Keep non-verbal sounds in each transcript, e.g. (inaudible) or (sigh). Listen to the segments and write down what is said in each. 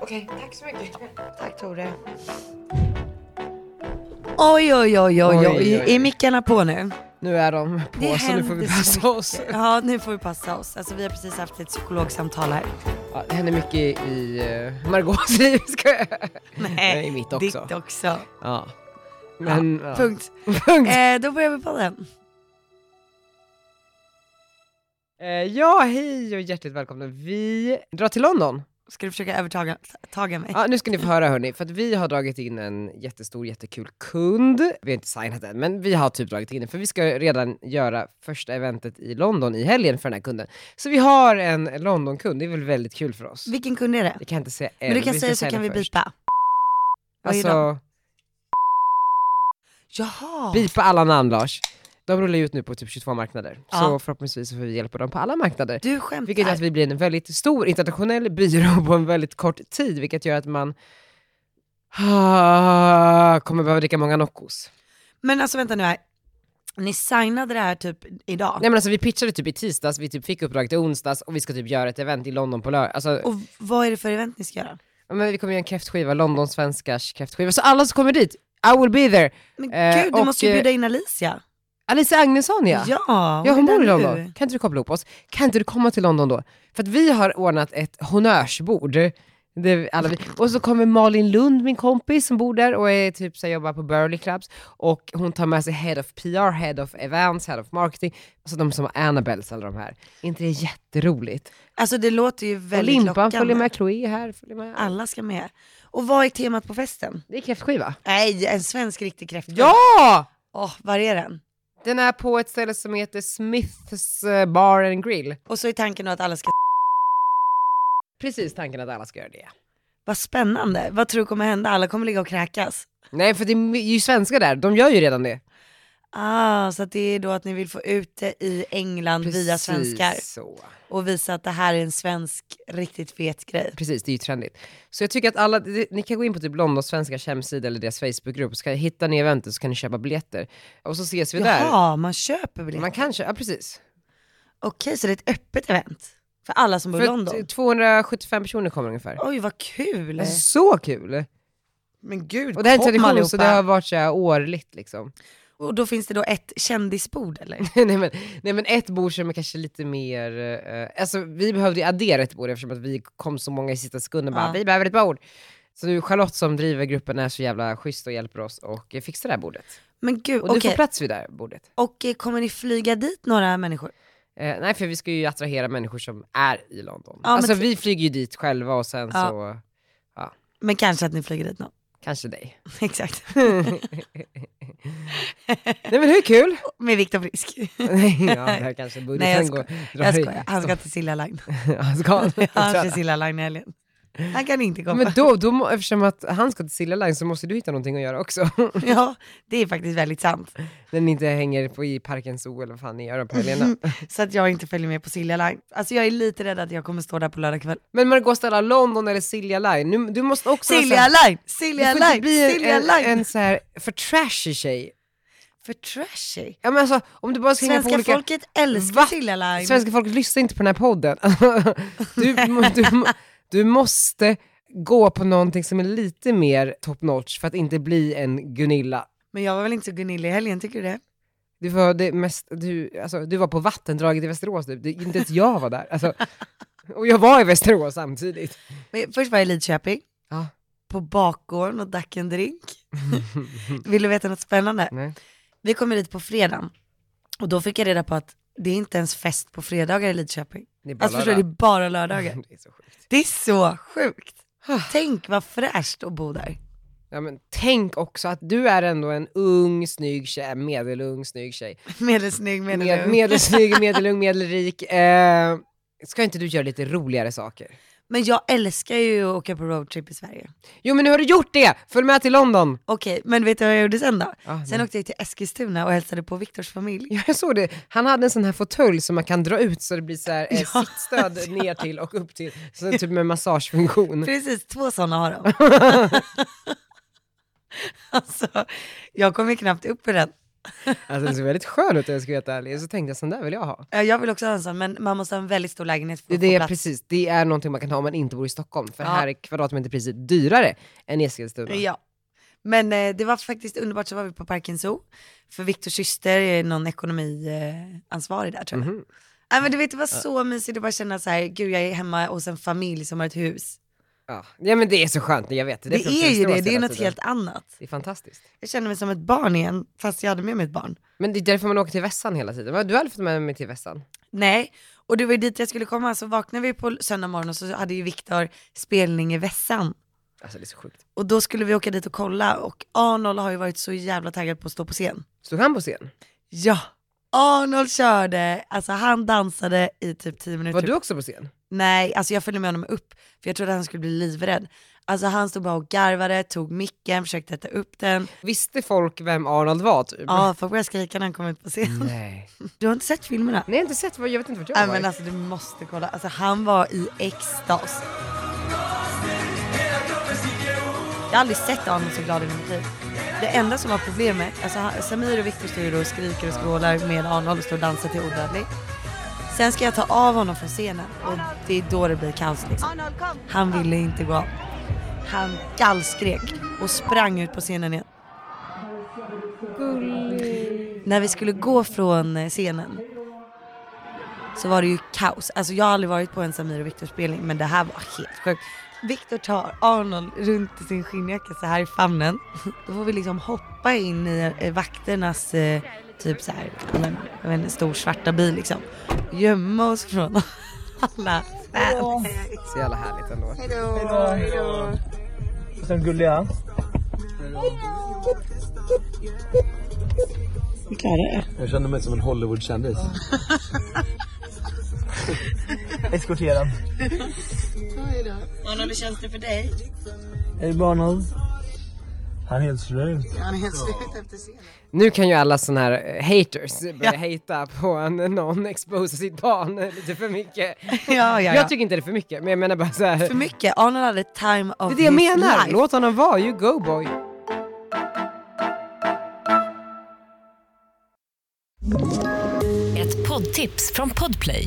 Okej, tack så mycket. Tack Tore. Oj, oj, oj, oj, Oj, oj. oj, oj. Är mickarna på nu? Nu är de på Det så nu får händer vi så passa oss. Ja, nu får vi passa oss. Alltså vi har precis haft ett psykologsamtal här. Ja, det händer mycket i, i eh, Margaux liv, (laughs) ska jag (laughs) Nej, i mitt också. Eh, Ditt också. Ja. Men, ja. Punkt. (laughs) Punkt. Eh, då börjar vi på den. Eh, ja, hej och hjärtligt välkomna. Vi drar till London. Ska du försöka övertaga taga mig? Ja, nu ska ni få höra hörni, för att vi har dragit in en jättestor, jättekul kund. Vi har inte signat den, men vi har typ dragit in den, för vi ska redan göra första eventet i London i helgen för den här kunden. Så vi har en London-kund, det är väl väldigt kul för oss. Vilken kund är det? Jag kan inte säga än, Men du kan Eh, vi ska säga så signa kan vi först. bipa. Vad är de? Alltså, Jaha! bipa alla namn Lars. De rullar ju ut nu på typ 22 marknader, Ja. så förhoppningsvis så får vi hjälpa dem på alla marknader. Du skämtar? Vilket gör att vi blir en väldigt stor internationell byrå på en väldigt kort tid, vilket gör att man ah, kommer behöva dricka många Noccos. Men alltså vänta nu här. Ni signade det här typ idag? Nej men alltså vi pitchade typ i tisdags, vi typ fick uppdraget i onsdags och vi ska typ göra ett event i London på lördag. Alltså, Och vad är det för event ni ska göra? ja, men vi kommer göra en kräftskiva, London svenskars kräftskiva. Så alla som kommer dit, I will be there! Men Eh, gud, du och, måste ju eh, bjuda in Alicia. Alice Agnesson ja! ja Ja, hon är bor i där nu. London. Kan inte du koppla ihop oss? Kan inte du komma till London då? För att vi har ordnat ett honnörsbord. Det är alla vi. Och så kommer Malin Lund, min kompis, som bor där och är typ så här, jobbar på Burley Clubs. Och hon tar med sig Head of PR, Head of Events, Head of Marketing. Alltså de som har Annabels, alla de här. Är inte det jätteroligt? Alltså det låter ju Och väldigt Limpan lockande. Ah. följer med, Chloé är här följer med. Alla ska med. Och vad är temat på festen? Det är kräftskiva. Nej, en svensk riktig kräftskiva. Ja! Åh, var är den? Den är på ett ställe som heter Smiths eh, Bar and Grill. Och så är tanken då att alla ska... Precis tanken att alla ska göra det. Vad spännande. Vad tror du kommer hända? Alla kommer ligga och kräkas. Nej, för det är ju svenskar där, de gör ju redan det. Mm. Ah, så att det är då att ni vill få ut det i England via Precis svenskar Så. och visa att det här är en svensk riktigt fet grej. Precis, det är ju trendigt. Så jag tycker att alla, det- ni kan gå in på typ London svenskars hemsida eller deras Facebookgrupp, så kan, hittar ni eventet så kan ni köpa biljetter. Och så ses vi Jaha, man köper där. biljetter. Man kan köpa, ja precis. Okej, så det är ett öppet event för alla som bor i London? För t- 275 personer kommer ungefär. Oj, vad kul! Alltså, så kul! Men gud, Och det här är en kom tradition, så allihopa. det har varit så här årligt liksom. Och då finns det då ett kändisbord eller? (laughs) nej, men, nej men ett bord som är kanske lite mer, eh, alltså vi behövde ju addera ett bord eftersom att vi kom så många i sista sekunden bara, Ja. vi behöver ett bord. Så nu Charlotte som driver gruppen är så jävla schysst och hjälper oss och eh, fixar det här bordet. Men gud, Och okej. du får plats vid det här bordet. Och eh, kommer ni flyga dit några människor? Eh, nej, för vi ska ju attrahera människor som är i London. Ja, men alltså ty- vi flyger ju dit själva och sen Ja. så Men kanske att ni flyger dit någon. (laughs) kanske dig. Exakt. nej men hur kul? (laughs) Med Viktor Frisk. nej, ja, där (laughs) kanske budgeten Nej, jag går. drar Jag i- skojar, han ska till Silja (laughs) Line. Ja, ska han? Han ska till Silja Line i helgen. Han kan inte komma. Men då, då, må- eftersom att han ska till Silja Line så måste du hitta någonting att göra också. (laughs) (laughs) Ja, det är faktiskt väldigt sant. När ni inte hänger på i Parken Zoo eller vad fan ni gör (laughs) på helgerna. Så att jag inte följer med på Silja Line. Alltså jag är lite rädd att jag kommer stå där på lördag kväll. Men Margot ställa London eller Silja Line, nu, du måste också... vara Silja så här- Line! Du Silja får inte Line! bli en, Silja en, Line! en så här för trashig tjej. För trashy. Ja, men alltså, om du bara ska hänga på Svenska olika... folket älskar Va? Silja Line. Svenska folk lyssnar inte på den här podden. (laughs) Du, du, du måste gå på någonting som är lite mer top notch för att inte bli en Gunilla. Men jag var väl inte så Gunilla i helgen, tycker du det? Du var, det mest, du, alltså, du var på vattendraget i Västerås nu, det, inte ens jag var där. Alltså, och jag var i Västerås samtidigt. Men först var jag i Lidköping, Ja. på bakgården och drack en (laughs) drink. Vill du veta något spännande? Nej. Vi kommer dit på fredagen och då fick jag reda på att det är inte ens fest på fredagar i Lidköping. Det är bara Alltså förstår du, lördag. det är bara (laughs) lördagar. Det är så sjukt. Det är så sjukt. Tänk vad fräscht att bo där. (laughs) Ja, men tänk också att du är ändå en ung, snygg tjej, medelung, snygg tjej. Medelsnygg, Med, medelung. medelsnygg, medelung, medelrik. Eh, ska inte du göra lite roligare saker? Men jag älskar ju att åka på roadtrip i Sverige. Jo men nu har du gjort det! Följ med till London! (laughs) Okej, men vet du vad jag gjorde sen då? Ah, Sen åkte jag till Eskilstuna och hälsade på Viktors familj. Jag såg det, han hade en sån här fåtölj som man kan dra ut så det blir så här, eh, (laughs) sittstöd ner till och upp till, så det är typ med massagefunktion. Precis, två sådana har (laughs) (laughs) de. alltså, jag kom ju knappt upp i den. Alltså den ser väldigt skön ut om jag ska vara helt ärlig. Så tänkte jag, sån där vill jag ha. Ja, Jag vill också ha en sån, men man måste ha en väldigt stor lägenhet för Det, att få det är plats. precis, det är någonting man kan ha om man inte bor i Stockholm. För Ja. här är kvadratmeterpriset dyrare än i Eskilstuna. Ja. Men eh, det var faktiskt underbart, så var vi på Parken Zoo, för Viktors syster är någon ekonomiansvarig eh, ansvarig där tror jag. Mhm. Nej, men du vet, det var så mysigt att bara känna så här, gud jag är hemma hos en familj som har ett hus. Ja. ja men det är så skönt, jag vet. Det, är ju frustrerande det, det är hela något tiden. helt annat. Det är fantastiskt. Jag känner mig som ett barn igen, fast jag hade med mig ett barn. Men det är därför man åker till Vässan hela tiden. Vad, Du har aldrig fått med mig till Vässan? Nej, och det var ju dit jag skulle komma, så vaknade vi på söndag morgon och så hade ju Viktor spelning i Vässan. Alltså det är så sjukt. Och då skulle vi åka dit och kolla och Arnold har ju varit så jävla taggad på att stå på scen. Stod han på scen? Ja, Arnold körde, alltså han dansade i typ 10 minuter. Var du också på scen? Nej, alltså jag följde med honom upp för jag trodde att han skulle bli livrädd. Alltså han stod bara och garvade, tog micken, försökte äta upp den. Visste folk vem Arnold var typ? Ja, folk började skrika när han kom ut på scen. Nej. Du har inte sett filmerna? Nej jag har inte sett, vad- jag vet inte vart jag Nej var. men alltså du måste kolla, alltså han var i extas. Jag har aldrig sett Arnold så glad i mitt liv. Det enda som var problemet, alltså han- Samir och Viktor står ju då och skriker och skrålar med Arnold och står och dansar till odödlig. Sen ska jag ta av honom från scenen och det är då det blir kaos liksom. Han ville inte gå av. Han gallskrek och sprang ut på scenen igen. När vi skulle gå från eh, scenen så var det ju kaos. Alltså jag har aldrig varit på en Samir och Viktor spelning men det här var helt sjukt. Viktor tar Arnold runt i sin skinnjacka så här i famnen. Då får vi liksom hoppa in i eh, vakternas eh, typ så här, ja, men, jag vet inte, stor svarta bil liksom. Gömma oss från alla fans. Så jävla härligt ändå. Sen gulliga. Jag känner mig som en Hollywoodkändis. (laughs) Eskorterad. Arnold, hur känns det för dig? Hej Barnold. Han är helt slut. Nu kan ju alla såna här eh, haters börja hata på en, någon exposa sitt barn (laughs) lite för mycket. Ja, ja, ja. Jag tycker inte det är för mycket, men jag menar bara så här. för mycket. Arnold hade time of Det är det jag his menar, life. låt honom vara, you go boy. Ett poddtips från Podplay.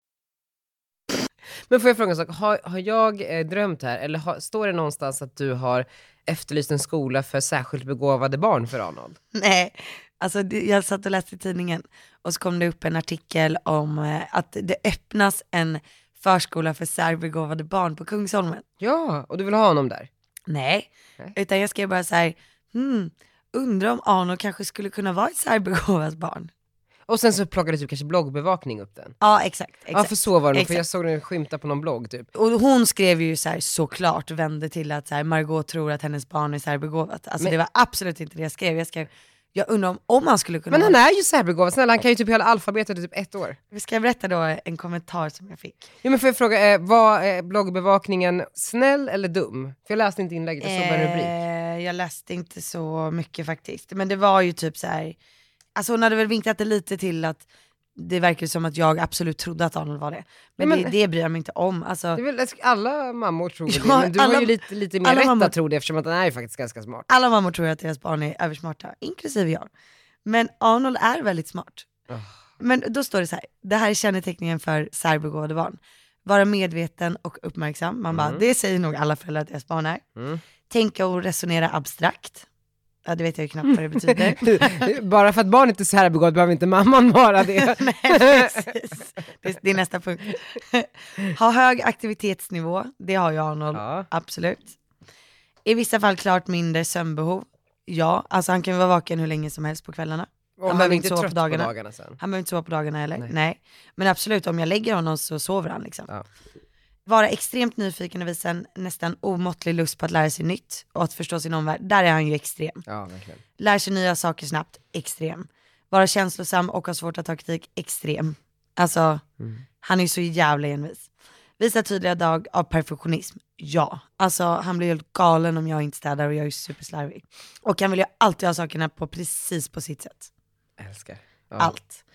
Men får jag fråga en sak, har, har jag eh, drömt här eller har, står det någonstans att du har efterlyst en skola för särskilt begåvade barn för Arnold? (laughs) Nej, alltså det, jag satt och läste i tidningen och så kom det upp en artikel om eh, att det öppnas en förskola för särbegåvade barn på Kungsholmen. Ja, och du vill ha honom där? Nej, Nej. utan jag skrev bara så här, hmm, undrar om Arnold kanske skulle kunna vara ett särbegåvat barn. Och sen så plockade typ kanske bloggbevakning upp den? Ja, exakt. Ja exakt. för så var det nog, för Exakt. jag såg den skymta på någon blogg typ. Och hon skrev ju så här, såklart, vände till att så här, Margot tror att hennes barn är särbegåvat. Alltså Men- det var absolut inte det jag skrev. Jag skrev, jag undrar om, om han skulle kunna Men han vara- är ju särbegåvad, snälla han kan ju typ hela alfabetet i typ ett år. Ska jag berätta då en kommentar som jag fick? Jo men får jag fråga, eh, var eh, bloggbevakningen snäll eller dum? För jag läste inte inlägget, jag såg bara en rubrik. Eh, jag läste inte så mycket faktiskt. Men det var ju typ så här. alltså hon hade väl vinkat det lite till att det verkar som att jag absolut trodde att Arnold var det. Men, Nej, det, men- det bryr jag mig inte om. Alltså, Det är väl, alla mammor tror väl Ja, det, men du alla- har ju lite, lite mer alla rätt mammor- att tro det eftersom att han är ju faktiskt ganska smart. (laughs) alla mammor tror ju att deras barn är översmarta, inklusive jag. Men Arnold är väldigt smart. Ah. Men då står det så här, det här är känneteckningen för särbegåvade barn. Vara medveten och uppmärksam. Man bara, det säger nog alla föräldrar att deras barn är. Mm. Tänka och resonera abstrakt. Ja, det vet jag ju knappt vad det (laughs) betyder. Bara för att barnet är särbegåvat behöver inte mamman (laughs) vara det. Nej, precis. Det är, det är nästa punkt. Ha hög aktivitetsnivå, det har jag Arnold, Ja. absolut. I vissa fall klart mindre sömnbehov. Ja, alltså han kan ju vara vaken hur länge som helst på kvällarna. Om Han man behöver är inte inte sova trött på på dagarna. dagarna. sen. Han behöver inte sova på dagarna heller. Nej. Nej. Men absolut, om jag lägger honom så sover han liksom. Ja. Vara extremt nyfiken och visa en nästan omåttlig lust på att lära sig nytt och att förstå sin omvärld. Där är han ju extrem. Ja, verkligen. Lär sig nya saker snabbt, extrem. Vara känslosam och ha svårt att ta kritik, extrem. Alltså, han är ju så jävla envis. Visar tydliga dag av perfektionism, ja. Alltså han blir helt galen om jag inte städar och jag är ju superslarvig. Och han vill ju alltid ha sakerna på precis på sitt sätt. Älskar. Ja. Allt.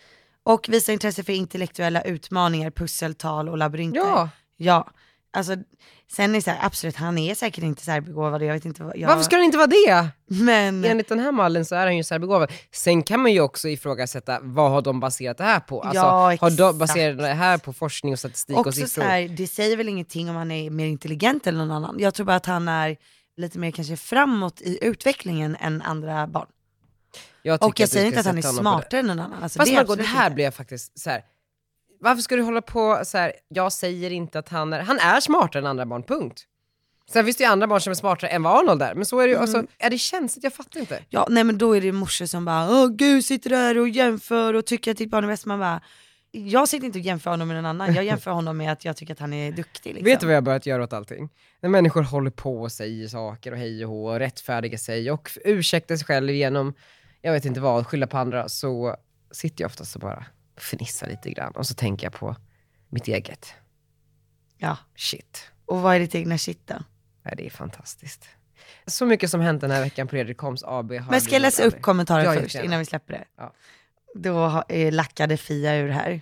Och visar intresse för intellektuella utmaningar, pusseltal och labyrinter. Ja. Ja. Alltså, sen är det så här, absolut, han är säkert inte särbegåvad och jag vet inte vad jag... Varför ska det inte vara det? Men... Enligt den här mallen så är han ju särbegåvad. Sen kan man ju också ifrågasätta, vad har de baserat det här på? Alltså, Ja, har de exakt. baserat det här på forskning och statistik och Också så siffror? här, det säger väl ingenting om han är mer intelligent än någon annan. Jag tror bara att han är lite mer kanske framåt i utvecklingen än andra barn. Jag tycker Och jag du säger ska inte att han är sätta honom på det. smartare än någon annan. Alltså, Fast det, är Margot, det absolut här inte. blir jag faktiskt så här. varför ska du hålla på så här? jag säger inte att han är, han är smartare än andra barn, punkt. Sen finns det ju andra barn som är smartare än vad Arnold är, men så är det ju, Mm. alltså, är det känsligt? Jag fattar inte. Ja, nej men då är det morsor som bara, åh gud sitter där och jämför och tycker att ditt barn är bäst. Man bara, jag sitter inte och jämför honom med någon annan, jag jämför honom med att jag tycker att han är duktig. Liksom. (laughs) Vet du vad jag har börjat göra åt allting? När människor håller på och säger saker och hej och hå och rättfärdigar sig och ursäktar sig själv genom, jag vet inte vad, skylla på andra, så sitter jag oftast och bara fnissar lite grann och så tänker jag på mitt eget. Ja. Shit. Och vad är ditt egna shit då? Nej, det är fantastiskt. Så mycket som hänt den här veckan på Redrik Koms AB har Men ska jag blivit läsa upp aldrig. kommentaren Ja, först jättegärna. innan vi släpper det? Ja. Då ha- eh, lackade Fia ur här.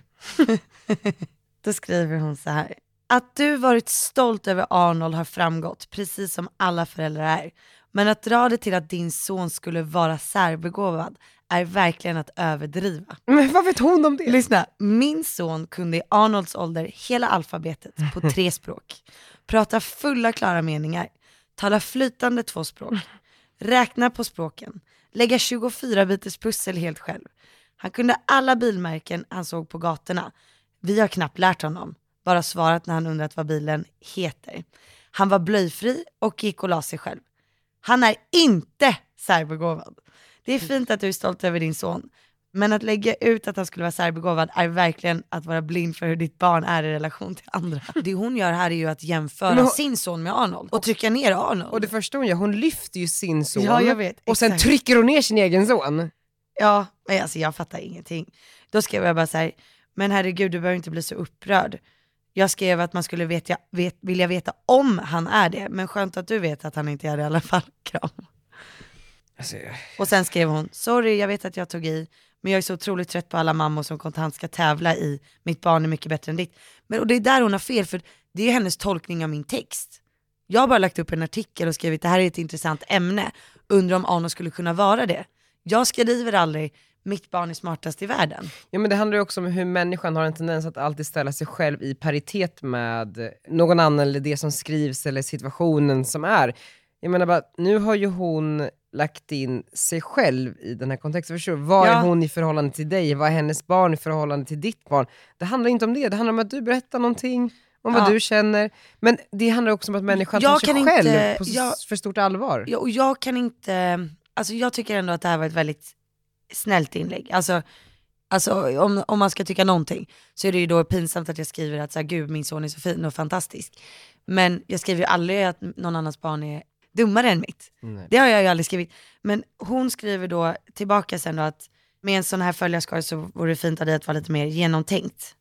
(laughs) Då skriver hon så här. Att du varit stolt över Arnold har framgått, precis som alla föräldrar är. Men att dra det till att din son skulle vara särbegåvad är verkligen att överdriva. Men vad vet hon om det? Lyssna, min son kunde i Arnolds ålder hela alfabetet på tre (laughs) språk, prata fulla klara meningar, tala flytande två språk, räkna på språken, lägga 24 bitars pussel helt själv. Han kunde alla bilmärken han såg på gatorna. Vi har knappt lärt honom, bara svarat när han undrat vad bilen heter. Han var blöjfri och gick och la sig själv. Han är inte särbegåvad. Det är fint att du är stolt över din son, men att lägga ut att han skulle vara särbegåvad är verkligen att vara blind för hur ditt barn är i relation till andra. Det hon gör här är ju att jämföra Men hon- sin son med Arnold och trycka ner Arnold. Och det första hon gör, hon lyfter ju sin son Ja, jag vet. och sen Exakt. trycker hon ner sin egen son. Ja, men alltså jag fattar ingenting. Då skrev jag bara så här, men herregud du behöver inte bli så upprörd. Jag skrev att man skulle veta, vet, vilja veta om han är det, men skönt att du vet att han inte är det i alla fall. (laughs) Kram. Alltså, jag- Och sen skrev hon, sorry jag vet att jag tog i, men jag är så otroligt trött på alla mammor som kontant ska tävla i, mitt barn är mycket bättre än ditt. Men och det är där hon har fel, för det är hennes tolkning av min text. Jag har bara lagt upp en artikel och skrivit, det här är ett intressant ämne, undrar om Arno skulle kunna vara det. Jag skriver aldrig, mitt barn är smartast i världen. Ja men det handlar ju också om hur människan har en tendens att alltid ställa sig själv i paritet med någon annan eller det som skrivs eller situationen som är. Jag menar bara, nu har ju hon lagt in sig själv i den här kontexten. Förstår du? Vad Ja. är hon i förhållande till dig? Vad är hennes barn i förhållande till ditt barn? Det handlar inte om det, det handlar om att du berättar någonting om vad Ja. du känner. Men det handlar också om att människan Jag tar sig kan själv inte- på s- jag- för stort allvar. Ja, och jag kan inte, alltså jag tycker ändå att det här var ett väldigt snällt inlägg. Alltså, alltså om, om man ska tycka någonting så är det ju då pinsamt att jag skriver att så här, gud min son är så fin och fantastisk. Men jag skriver ju aldrig att någon annans barn är dummare än mitt. Nej. Det har jag ju aldrig skrivit. Men hon skriver då tillbaka sen då att med en sån här följarskara så vore det fint av dig att vara lite mer genomtänkt.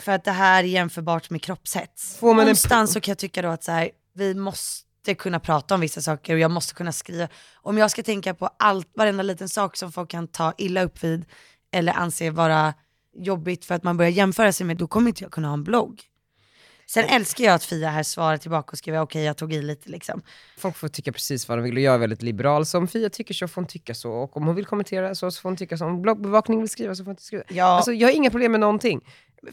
För att det här är jämförbart med kroppshets. Får man en- Någonstans så kan jag tycka då att så här, vi måste kunna prata om vissa saker och jag måste kunna skriva. Om jag ska tänka på allt, varenda liten sak som folk kan ta illa upp vid eller anse vara jobbigt för att man börjar jämföra sig med, då kommer inte jag kunna ha en blogg. Sen älskar jag att Fia här svarar tillbaka och skriver okej jag tog i lite liksom. Folk får tycka precis vad de vill och jag är väldigt liberal. Så om Fia tycker så får hon tycka så. Och om hon vill kommentera så, så får hon tycka så. Om bloggbevakning vill skriva så får hon inte skriva. Ja. Alltså, jag har inga problem med någonting.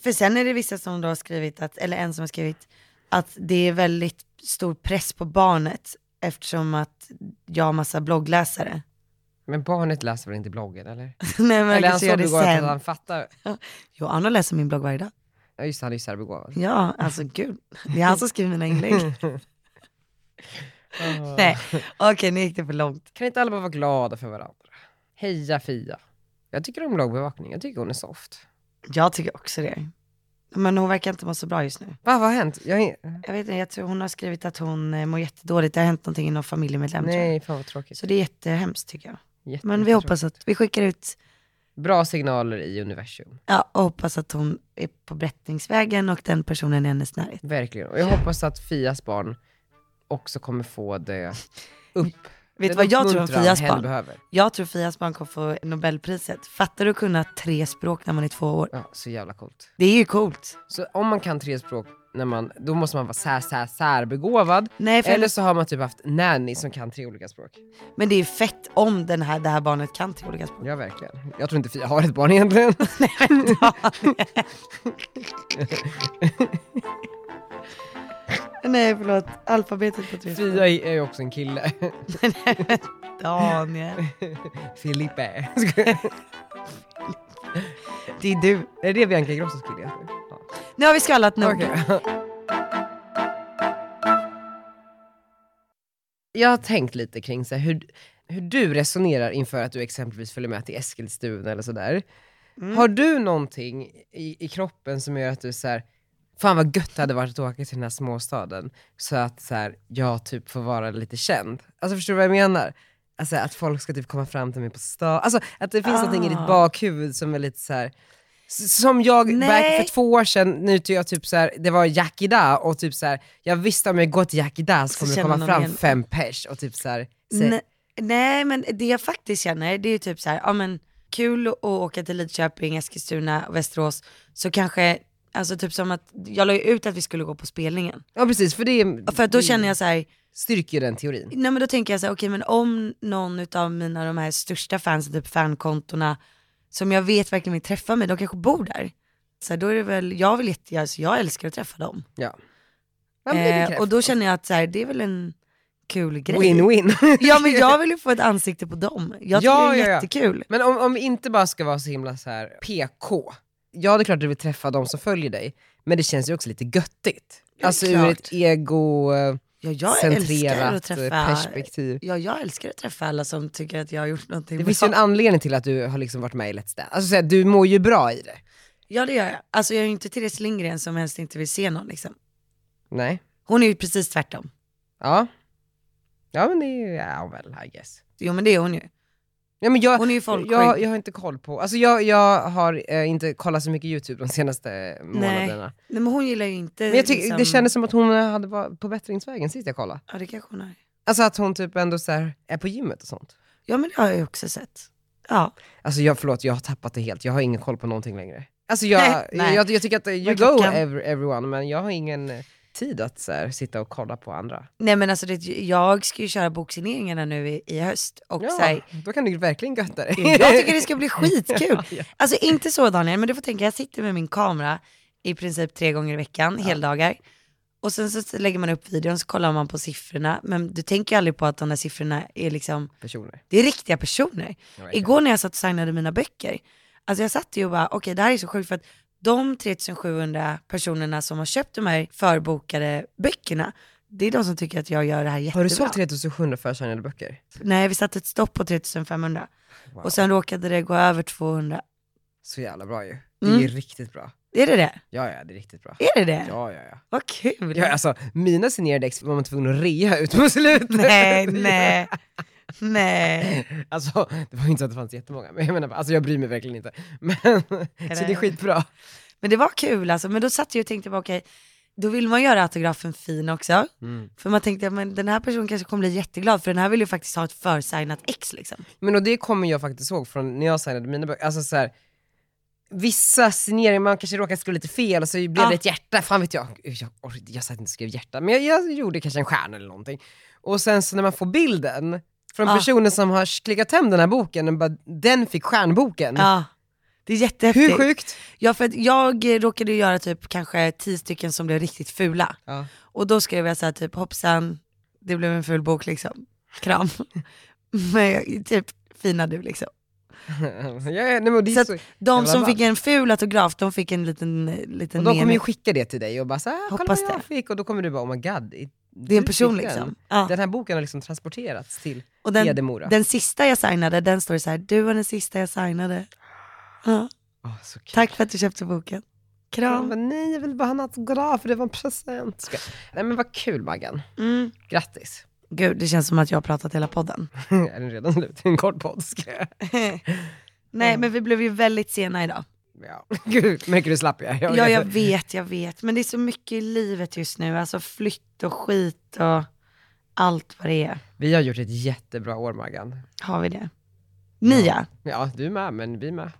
För sen är det vissa som då har skrivit, att, eller en som har skrivit, att det är väldigt stor press på barnet eftersom att jag har massa bloggläsare. (laughs) Men barnet läser väl inte bloggen eller? Nej men eller han kanske gör det begåvad att sen. han fattar. Jo, Arno läser min blogg varje dag. Ja just det, han är ju särbegåvad. Ja, alltså gud. Det är han som skriver mina inlägg. (laughs) Nej, okej nu gick det för långt. Kan inte alla bara vara glada för varandra? Heja Fia. Jag tycker om bloggbevakning, jag tycker hon är soft. Jag tycker också det. Men hon verkar inte må så bra just nu. Va, vad har hänt? Jag är... Jag vet inte, jag tror hon har skrivit att hon eh, mår jättedåligt. Det har hänt någonting i någon familjemedlem tror jag. Nej, fan vad tråkigt. Så det är jättehemskt tycker jag. Jätte- Men vi jättetråkigt. hoppas att vi skickar ut Bra signaler i universum. Ja, och hoppas att hon är på brättningsvägen och den personen är hennes närhet. Verkligen. Och jag hoppas att Fias barn också kommer få det upp. Vet du den vad jag tror om uppmuntran Fias hen barn? behöver. Jag tror Fias barn kommer få Nobelpriset. Fattar du att kunna tre språk när man är två år? Ja, så jävla coolt. Det är ju coolt. Så om man kan tre språk, när man, då måste man vara sär, sär, särbegåvad. Nej, för Eller så har man typ haft nanny som kan tre olika språk. Men det är fett om den här, det här barnet kan tre olika språk. Ja, verkligen. Jag tror inte Fia har ett (laughs) barn egentligen. Nej förlåt, alfabetet på tre språk. Fia är ju också en kille. (laughs) Daniel. Filippe. (laughs) Det är du. Är det Bianca Ingrossos kille heter? Ja. Nu har vi skallat nog. Jag har tänkt lite kring så här, hur, hur du resonerar inför att du exempelvis följer med till Eskilstuna eller sådär. Har du någonting i, i kroppen som gör att du så här, fan vad gött det hade varit att åka till den här småstaden, så att så här, jag typ får vara lite känd? Alltså förstår du vad jag menar? Alltså att folk ska typ komma fram till mig på stan, alltså att det finns någonting i ditt Ah. bakhuvud som är lite så här. s- Som jag, Nej. back för två år sedan, nu tycker jag typ så här, det var Yakida och typ så här, jag visste om jag går till Yakida så Så kommer det känner komma någon fram igen. fem pers och typ så här, säg- Ne- Nej men det jag faktiskt känner det är ju typ så här, ja men kul att åka till Lidköping, Eskilstuna, och Västerås. Så kanske, alltså typ som att, jag la ju ut att vi skulle gå på spelningen. Ja precis, för det är, För att då känner jag så här, styrker ju den teorin. Nej men då tänker jag så här, okej men om någon utav mina de här största fansen, typ fankontona, som jag vet verkligen vill träffa mig, de kanske bor där. Så här, då är det väl, jag vill jätte, alltså, jag älskar att träffa dem. Ja. Man blir bekräftad. Eh, och då känner jag att så här, det är väl en kul grej. (laughs) Win-win. (laughs) Ja men jag vill ju få ett ansikte på dem. Jag tycker Ja, det är ja, ja. jättekul. Men om, om vi inte bara ska vara så himla så här PK. Ja, det är klart att du vill träffa de som följer dig, men det känns ju också lite göttigt. är Alltså ur klart. ett egocentrerat Ja, jag älskar att träffa, eh, perspektiv. ja jag älskar att träffa alla som tycker att jag har gjort någonting Det finns ju en anledning till att du har liksom varit med i Let's Dance. Alltså så här, du mår ju bra i det. Ja det gör jag. Alltså jag är ju inte Therese Lindgren som helst inte vill se någon liksom. Nej. Hon är ju precis tvärtom. Ja. Ja men det är ju, ja väl I guess. Jo men det är hon ju. Ja, men jag, Hon är ju folkskygg. jag, jag har inte koll på, alltså jag, jag har eh, inte kollat så mycket YouTube de senaste månaderna. Nej men hon gillar ju inte Men jag tycker, det liksom- kändes som att hon hade varit på bättringsvägen sist jag kollade. Ja det kanske hon är. Alltså att hon typ ändå så här är på gymmet och sånt. Ja men det har jag ju också sett. Ja. Alltså jag, förlåt, jag har tappat det helt. Jag har ingen koll på någonting längre. Alltså jag, (laughs) Nej. jag, jag tycker att eh, you Vad go klockan? every, everyone, men jag har ingen eh, tid att så här, sitta och kolla på andra. Nej men alltså det, jag ska ju köra boxineringarna nu i, i höst och så här, Ja, då kan du ju verkligen götta dig. jag tycker det ska (laughs) bli skitkul. Ja, ja. Alltså inte så Daniel, men du får tänka, jag sitter med min kamera i princip tre gånger i veckan, heldagar. Och sen så lägger man upp videon så kollar man på siffrorna, men du tänker ju aldrig på att de där siffrorna är liksom, Personer. det är riktiga personer. verkligen. Igår när jag satt och signade mina böcker, alltså jag satt ju och bara, okej det här är så sjukt för att de 3700 personerna som har köpt de här förbokade böckerna, det är de som tycker att jag gör det här jättebra. Har du sålt 3700 försignade böcker? Nej, vi satte ett stopp på 3500 Wow. och sen råkade det gå över 200. Så jävla bra ju. Det är Mm. ju riktigt bra. Är det det? Ja, ja, det är riktigt bra. Är det det? Ja, ja, ja. Vad kul! ja alltså, mina signerade ex var man tvungen att rea ut på (laughs) slutet. Nej, nej, (laughs) nej. Alltså, det var ju inte så att det fanns jättemånga, men jag menar, bara, alltså jag bryr mig verkligen inte. Men, så det är skitbra. Men det var kul alltså, men då satt jag och tänkte bara okej, då vill man göra autografen fin också. Mm. För man tänkte, men den här personen kanske kommer bli jätteglad för den här vill ju faktiskt ha ett försignat ex liksom. Men och det kommer jag faktiskt ihåg från när jag signade mina böcker, alltså så här, vissa signeringar, man kanske råkade skriva lite fel och så blev Ja. det ett hjärta, fan vet jag. Jag, jag, jag sa att jag inte skrev hjärta, men jag, jag gjorde kanske en stjärna eller någonting. Och sen så när man får bilden från Ja. personen som har klickat hem den här boken, den, bara, den fick stjärnboken. Ja, det är jättehäftigt. Mm. Hur sjukt? (laughs) Ja, för att jag eh, råkade ju göra typ kanske tio stycken som blev riktigt fula. Ja. Och då skrev jag så här typ hoppsan, det blev en ful bok liksom. Kram. (laughs) Men jag- typ fina du liksom. ja, ja, nej, men det är Så så att De jävla som ballt. fick en ful autograf, de fick en liten, eh, liten Och de kommer mening. ju skicka det till dig och bara så här, "Ah, kolla Hoppas vad jag det. fick. Och då kommer du bara, oh my god. i- Det är en du person fick den. liksom. Ja. Den här boken har liksom transporterats till Och den, Hedemora. den sista jag signade, den står det så här, du var den sista jag signade. Ja. Åh, så kul. Tack för att du köpte boken. Jag Kram. bara, nej, jag vill bara ha en autograf för det var en present. Ska- Nej men vad kul Maggan. Mm. (laughs) Grattis. Gud, det känns som att jag har pratat hela podden. är den redan slut? Det är en kort podd. ska jag- Nej men vi blev ju väldigt sena idag. Ja. (laughs) Gud, märker du slapp jag? jag Ja jag vet, jag vet. Men det är så mycket i livet just nu. Alltså flytt och skit och allt vad det är. Vi har gjort ett jättebra år Maggan. Har vi det? Ni ja. Ja, du med, men vi med.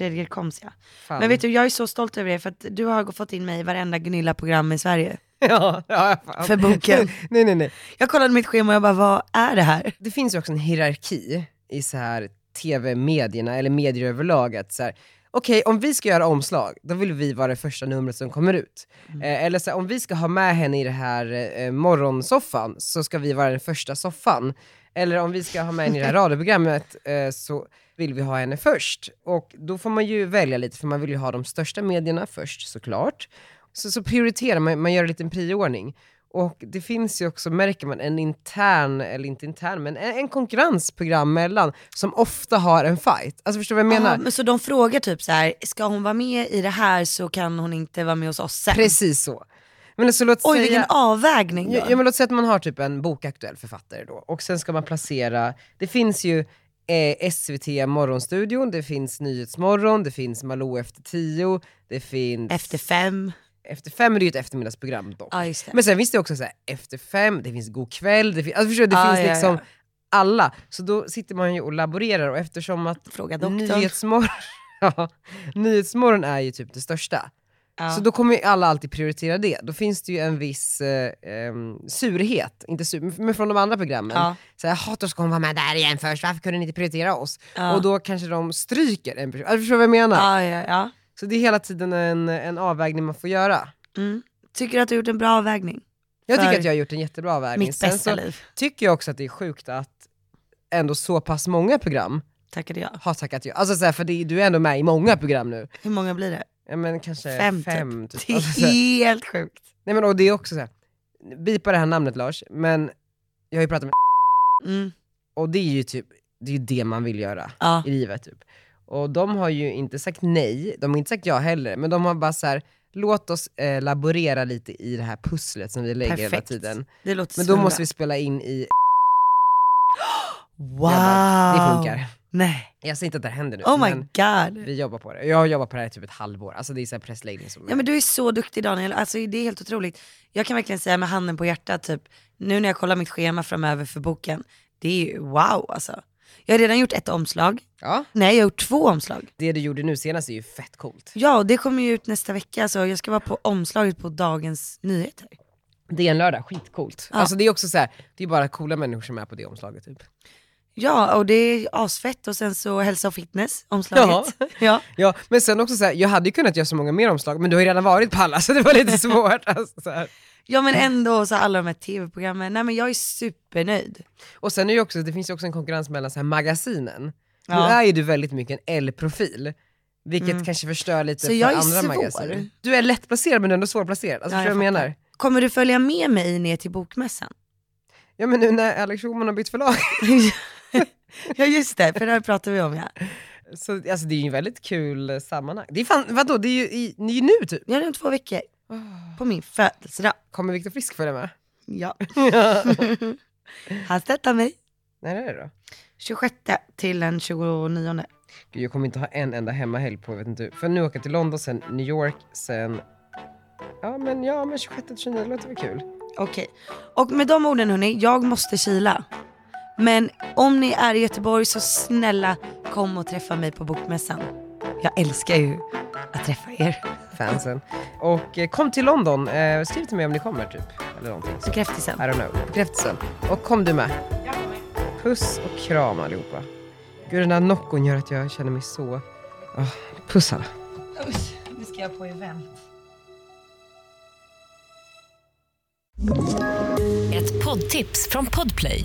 Redgert Koms ja. Fan. Men vet du, jag är så stolt över det för att du har fått in mig i varenda Gunilla-program i Sverige. (laughs) Ja, ja, fan. För boken. (laughs) nej, nej, nej. Jag kollade mitt schema och jag bara, vad är det här? Det finns ju också en hierarki i så här tv-medierna, eller medier överlag, att så här, okej, om vi ska göra omslag, då vill vi vara det första numret som kommer ut. Eh, eller så här, om vi ska ha med henne i det här eh, morgonsoffan, så ska vi vara den första soffan. Eller om vi ska ha med henne i det här radioprogrammet, eh, så vill vi ha henne först. Och då får man ju välja lite, för man vill ju ha de största medierna först såklart. Så, så prioriterar man, man gör en liten prioordning. Och det finns ju också, märker man, en intern, eller inte intern, men en, en konkurrensprogram mellan, som ofta har en fight. Alltså förstår du vad jag menar? Ja, men så de frågar typ så här, ska hon vara med i det här så kan hon inte vara med hos oss sen. Precis så. Men alltså, låt Oj säga... vilken avvägning då. Ja, ja, men låt säga att man har typ en bokaktuell författare då, och sen ska man placera, det finns ju eh, SVT Morgonstudion, det finns Nyhetsmorgon, det finns Malou efter tio, det finns... Efter fem. efter fem är det ju ett eftermiddagsprogram dock. Ja just det. Men sen finns det också så här, efter fem, det finns god kväll, det, fin- alltså förstår, du, det Ah, finns ja, liksom ja. alla. Så då sitter man ju och laborerar och eftersom att Fråga doktorn. Nyhetsmorgon, (laughs) ja, Nyhetsmorgon är ju typ det största. Ja. Så då kommer ju alla alltid prioritera det. Då finns det ju en viss eh, ehm, surhet, inte sur, men från de andra programmen. Ja. Så här, "Jaha, då ska hon vara med där igen först, varför kunde ni inte prioritera oss? Ja. Och då kanske de stryker en person. Alltså, förstår du vad jag menar? ja, ja, ja. Så det är hela tiden en, en avvägning man får göra. Mm. Tycker du att du har gjort en bra avvägning? Jag tycker För att jag har gjort en jättebra avvägning. Mitt Sen bästa så liv, tycker jag också att det är sjukt att ändå så pass många program tackade jag. har tackat ja. Alltså så här, för det, du är ändå med i många program nu. Hur många blir det? Ja, men kanske Fem, fem. typ. typ. Det Alltså, är så här. helt sjukt. Nej men och det är också så här. bipa det här namnet Lars, men jag har ju pratat med (laughs) Mm. och det är ju typ, det är ju det man vill göra Ja. i livet typ. Och de har ju inte sagt nej, de har inte sagt ja heller, men de har bara så här. låt oss eh, laborera lite i det här pusslet som vi lägger hela Perfekt. tiden. Det låter Men då svinbra. måste vi spela in i Wow! Jag bara, det funkar. Nej. Jag säger inte att det händer nu, Oh my men god. vi jobbar på det. Jag har jobbat på det här i typ ett halvår, alltså det är så här pressläggning som... Ja men du är så duktig Daniel, alltså det är helt otroligt. Jag kan verkligen säga med handen på hjärtat typ, nu när jag kollar mitt schema framöver för boken, det är ju wow alltså. Jag har redan gjort ett omslag, ja, nej jag har gjort två omslag. det du gjorde nu senast är ju fett coolt. Ja och det kommer ju ut nästa vecka så jag ska vara på omslaget på Dagens Nyheter. Det är en lördag, skitcoolt. Ja. Alltså det är också så här, det är bara coola människor som är på det omslaget typ. Ja och det är asfett och sen så hälsa och fitness, omslaget. (laughs) Ja. Ja, men sen också så här, jag hade ju kunnat göra så många mer omslag, men du har ju redan varit på alla så det var (laughs) lite svårt. Alltså, så här. ja men ändå så alla de här tv-programmen, nej men jag är supernöjd. Och sen är ju också, det finns ju också en konkurrens mellan så här magasinen. Nu Ja. Mm. är ju du väldigt mycket en L-profil, vilket kanske förstör lite Så för jag är andra svår. magasin. Du är lättplacerad men du är ändå svårplacerad, alltså Ja, förstår du vad jag jag menar? Kommer du följa med mig ner till bokmässan? (laughs) Ja men nu när Alex Schulman har bytt förlag, (laughs) ja just det, för det här pratar vi om ja. så alltså, det är ju en väldigt kul eh, sammanhang. Det är fan, vadå, det är ju i, ni är ju nu typ. Jag är om två veckor. På min födelsedag. Kommer Viktor Frisk (laughs) följa med? Ja. Han stöttar mig. När är det då? 26 till den 29. Gud, jag kommer inte ha en enda hemmahelg på, jag vet inte hur. För nu åker jag till London, sen New York, sen... Ja men, ja, men 26-29 låter väl kul. Okej. Och med de orden hörni, jag måste kila. Men om ni är i Göteborg så snälla kom och träffa mig på bokmässan. Jag älskar ju att träffa er. Fansen. Och eh, kom till London, eh, skriv till mig om ni kommer typ. Eller någonting. Så, I Bekräftelsen. don't know. Bekräftelsen. Och kom du med. Puss och kram allihopa. Gud den där nockon gör att jag känner mig så... Ah, puss alla. Nu ska jag på event. Ett poddtips från Podplay.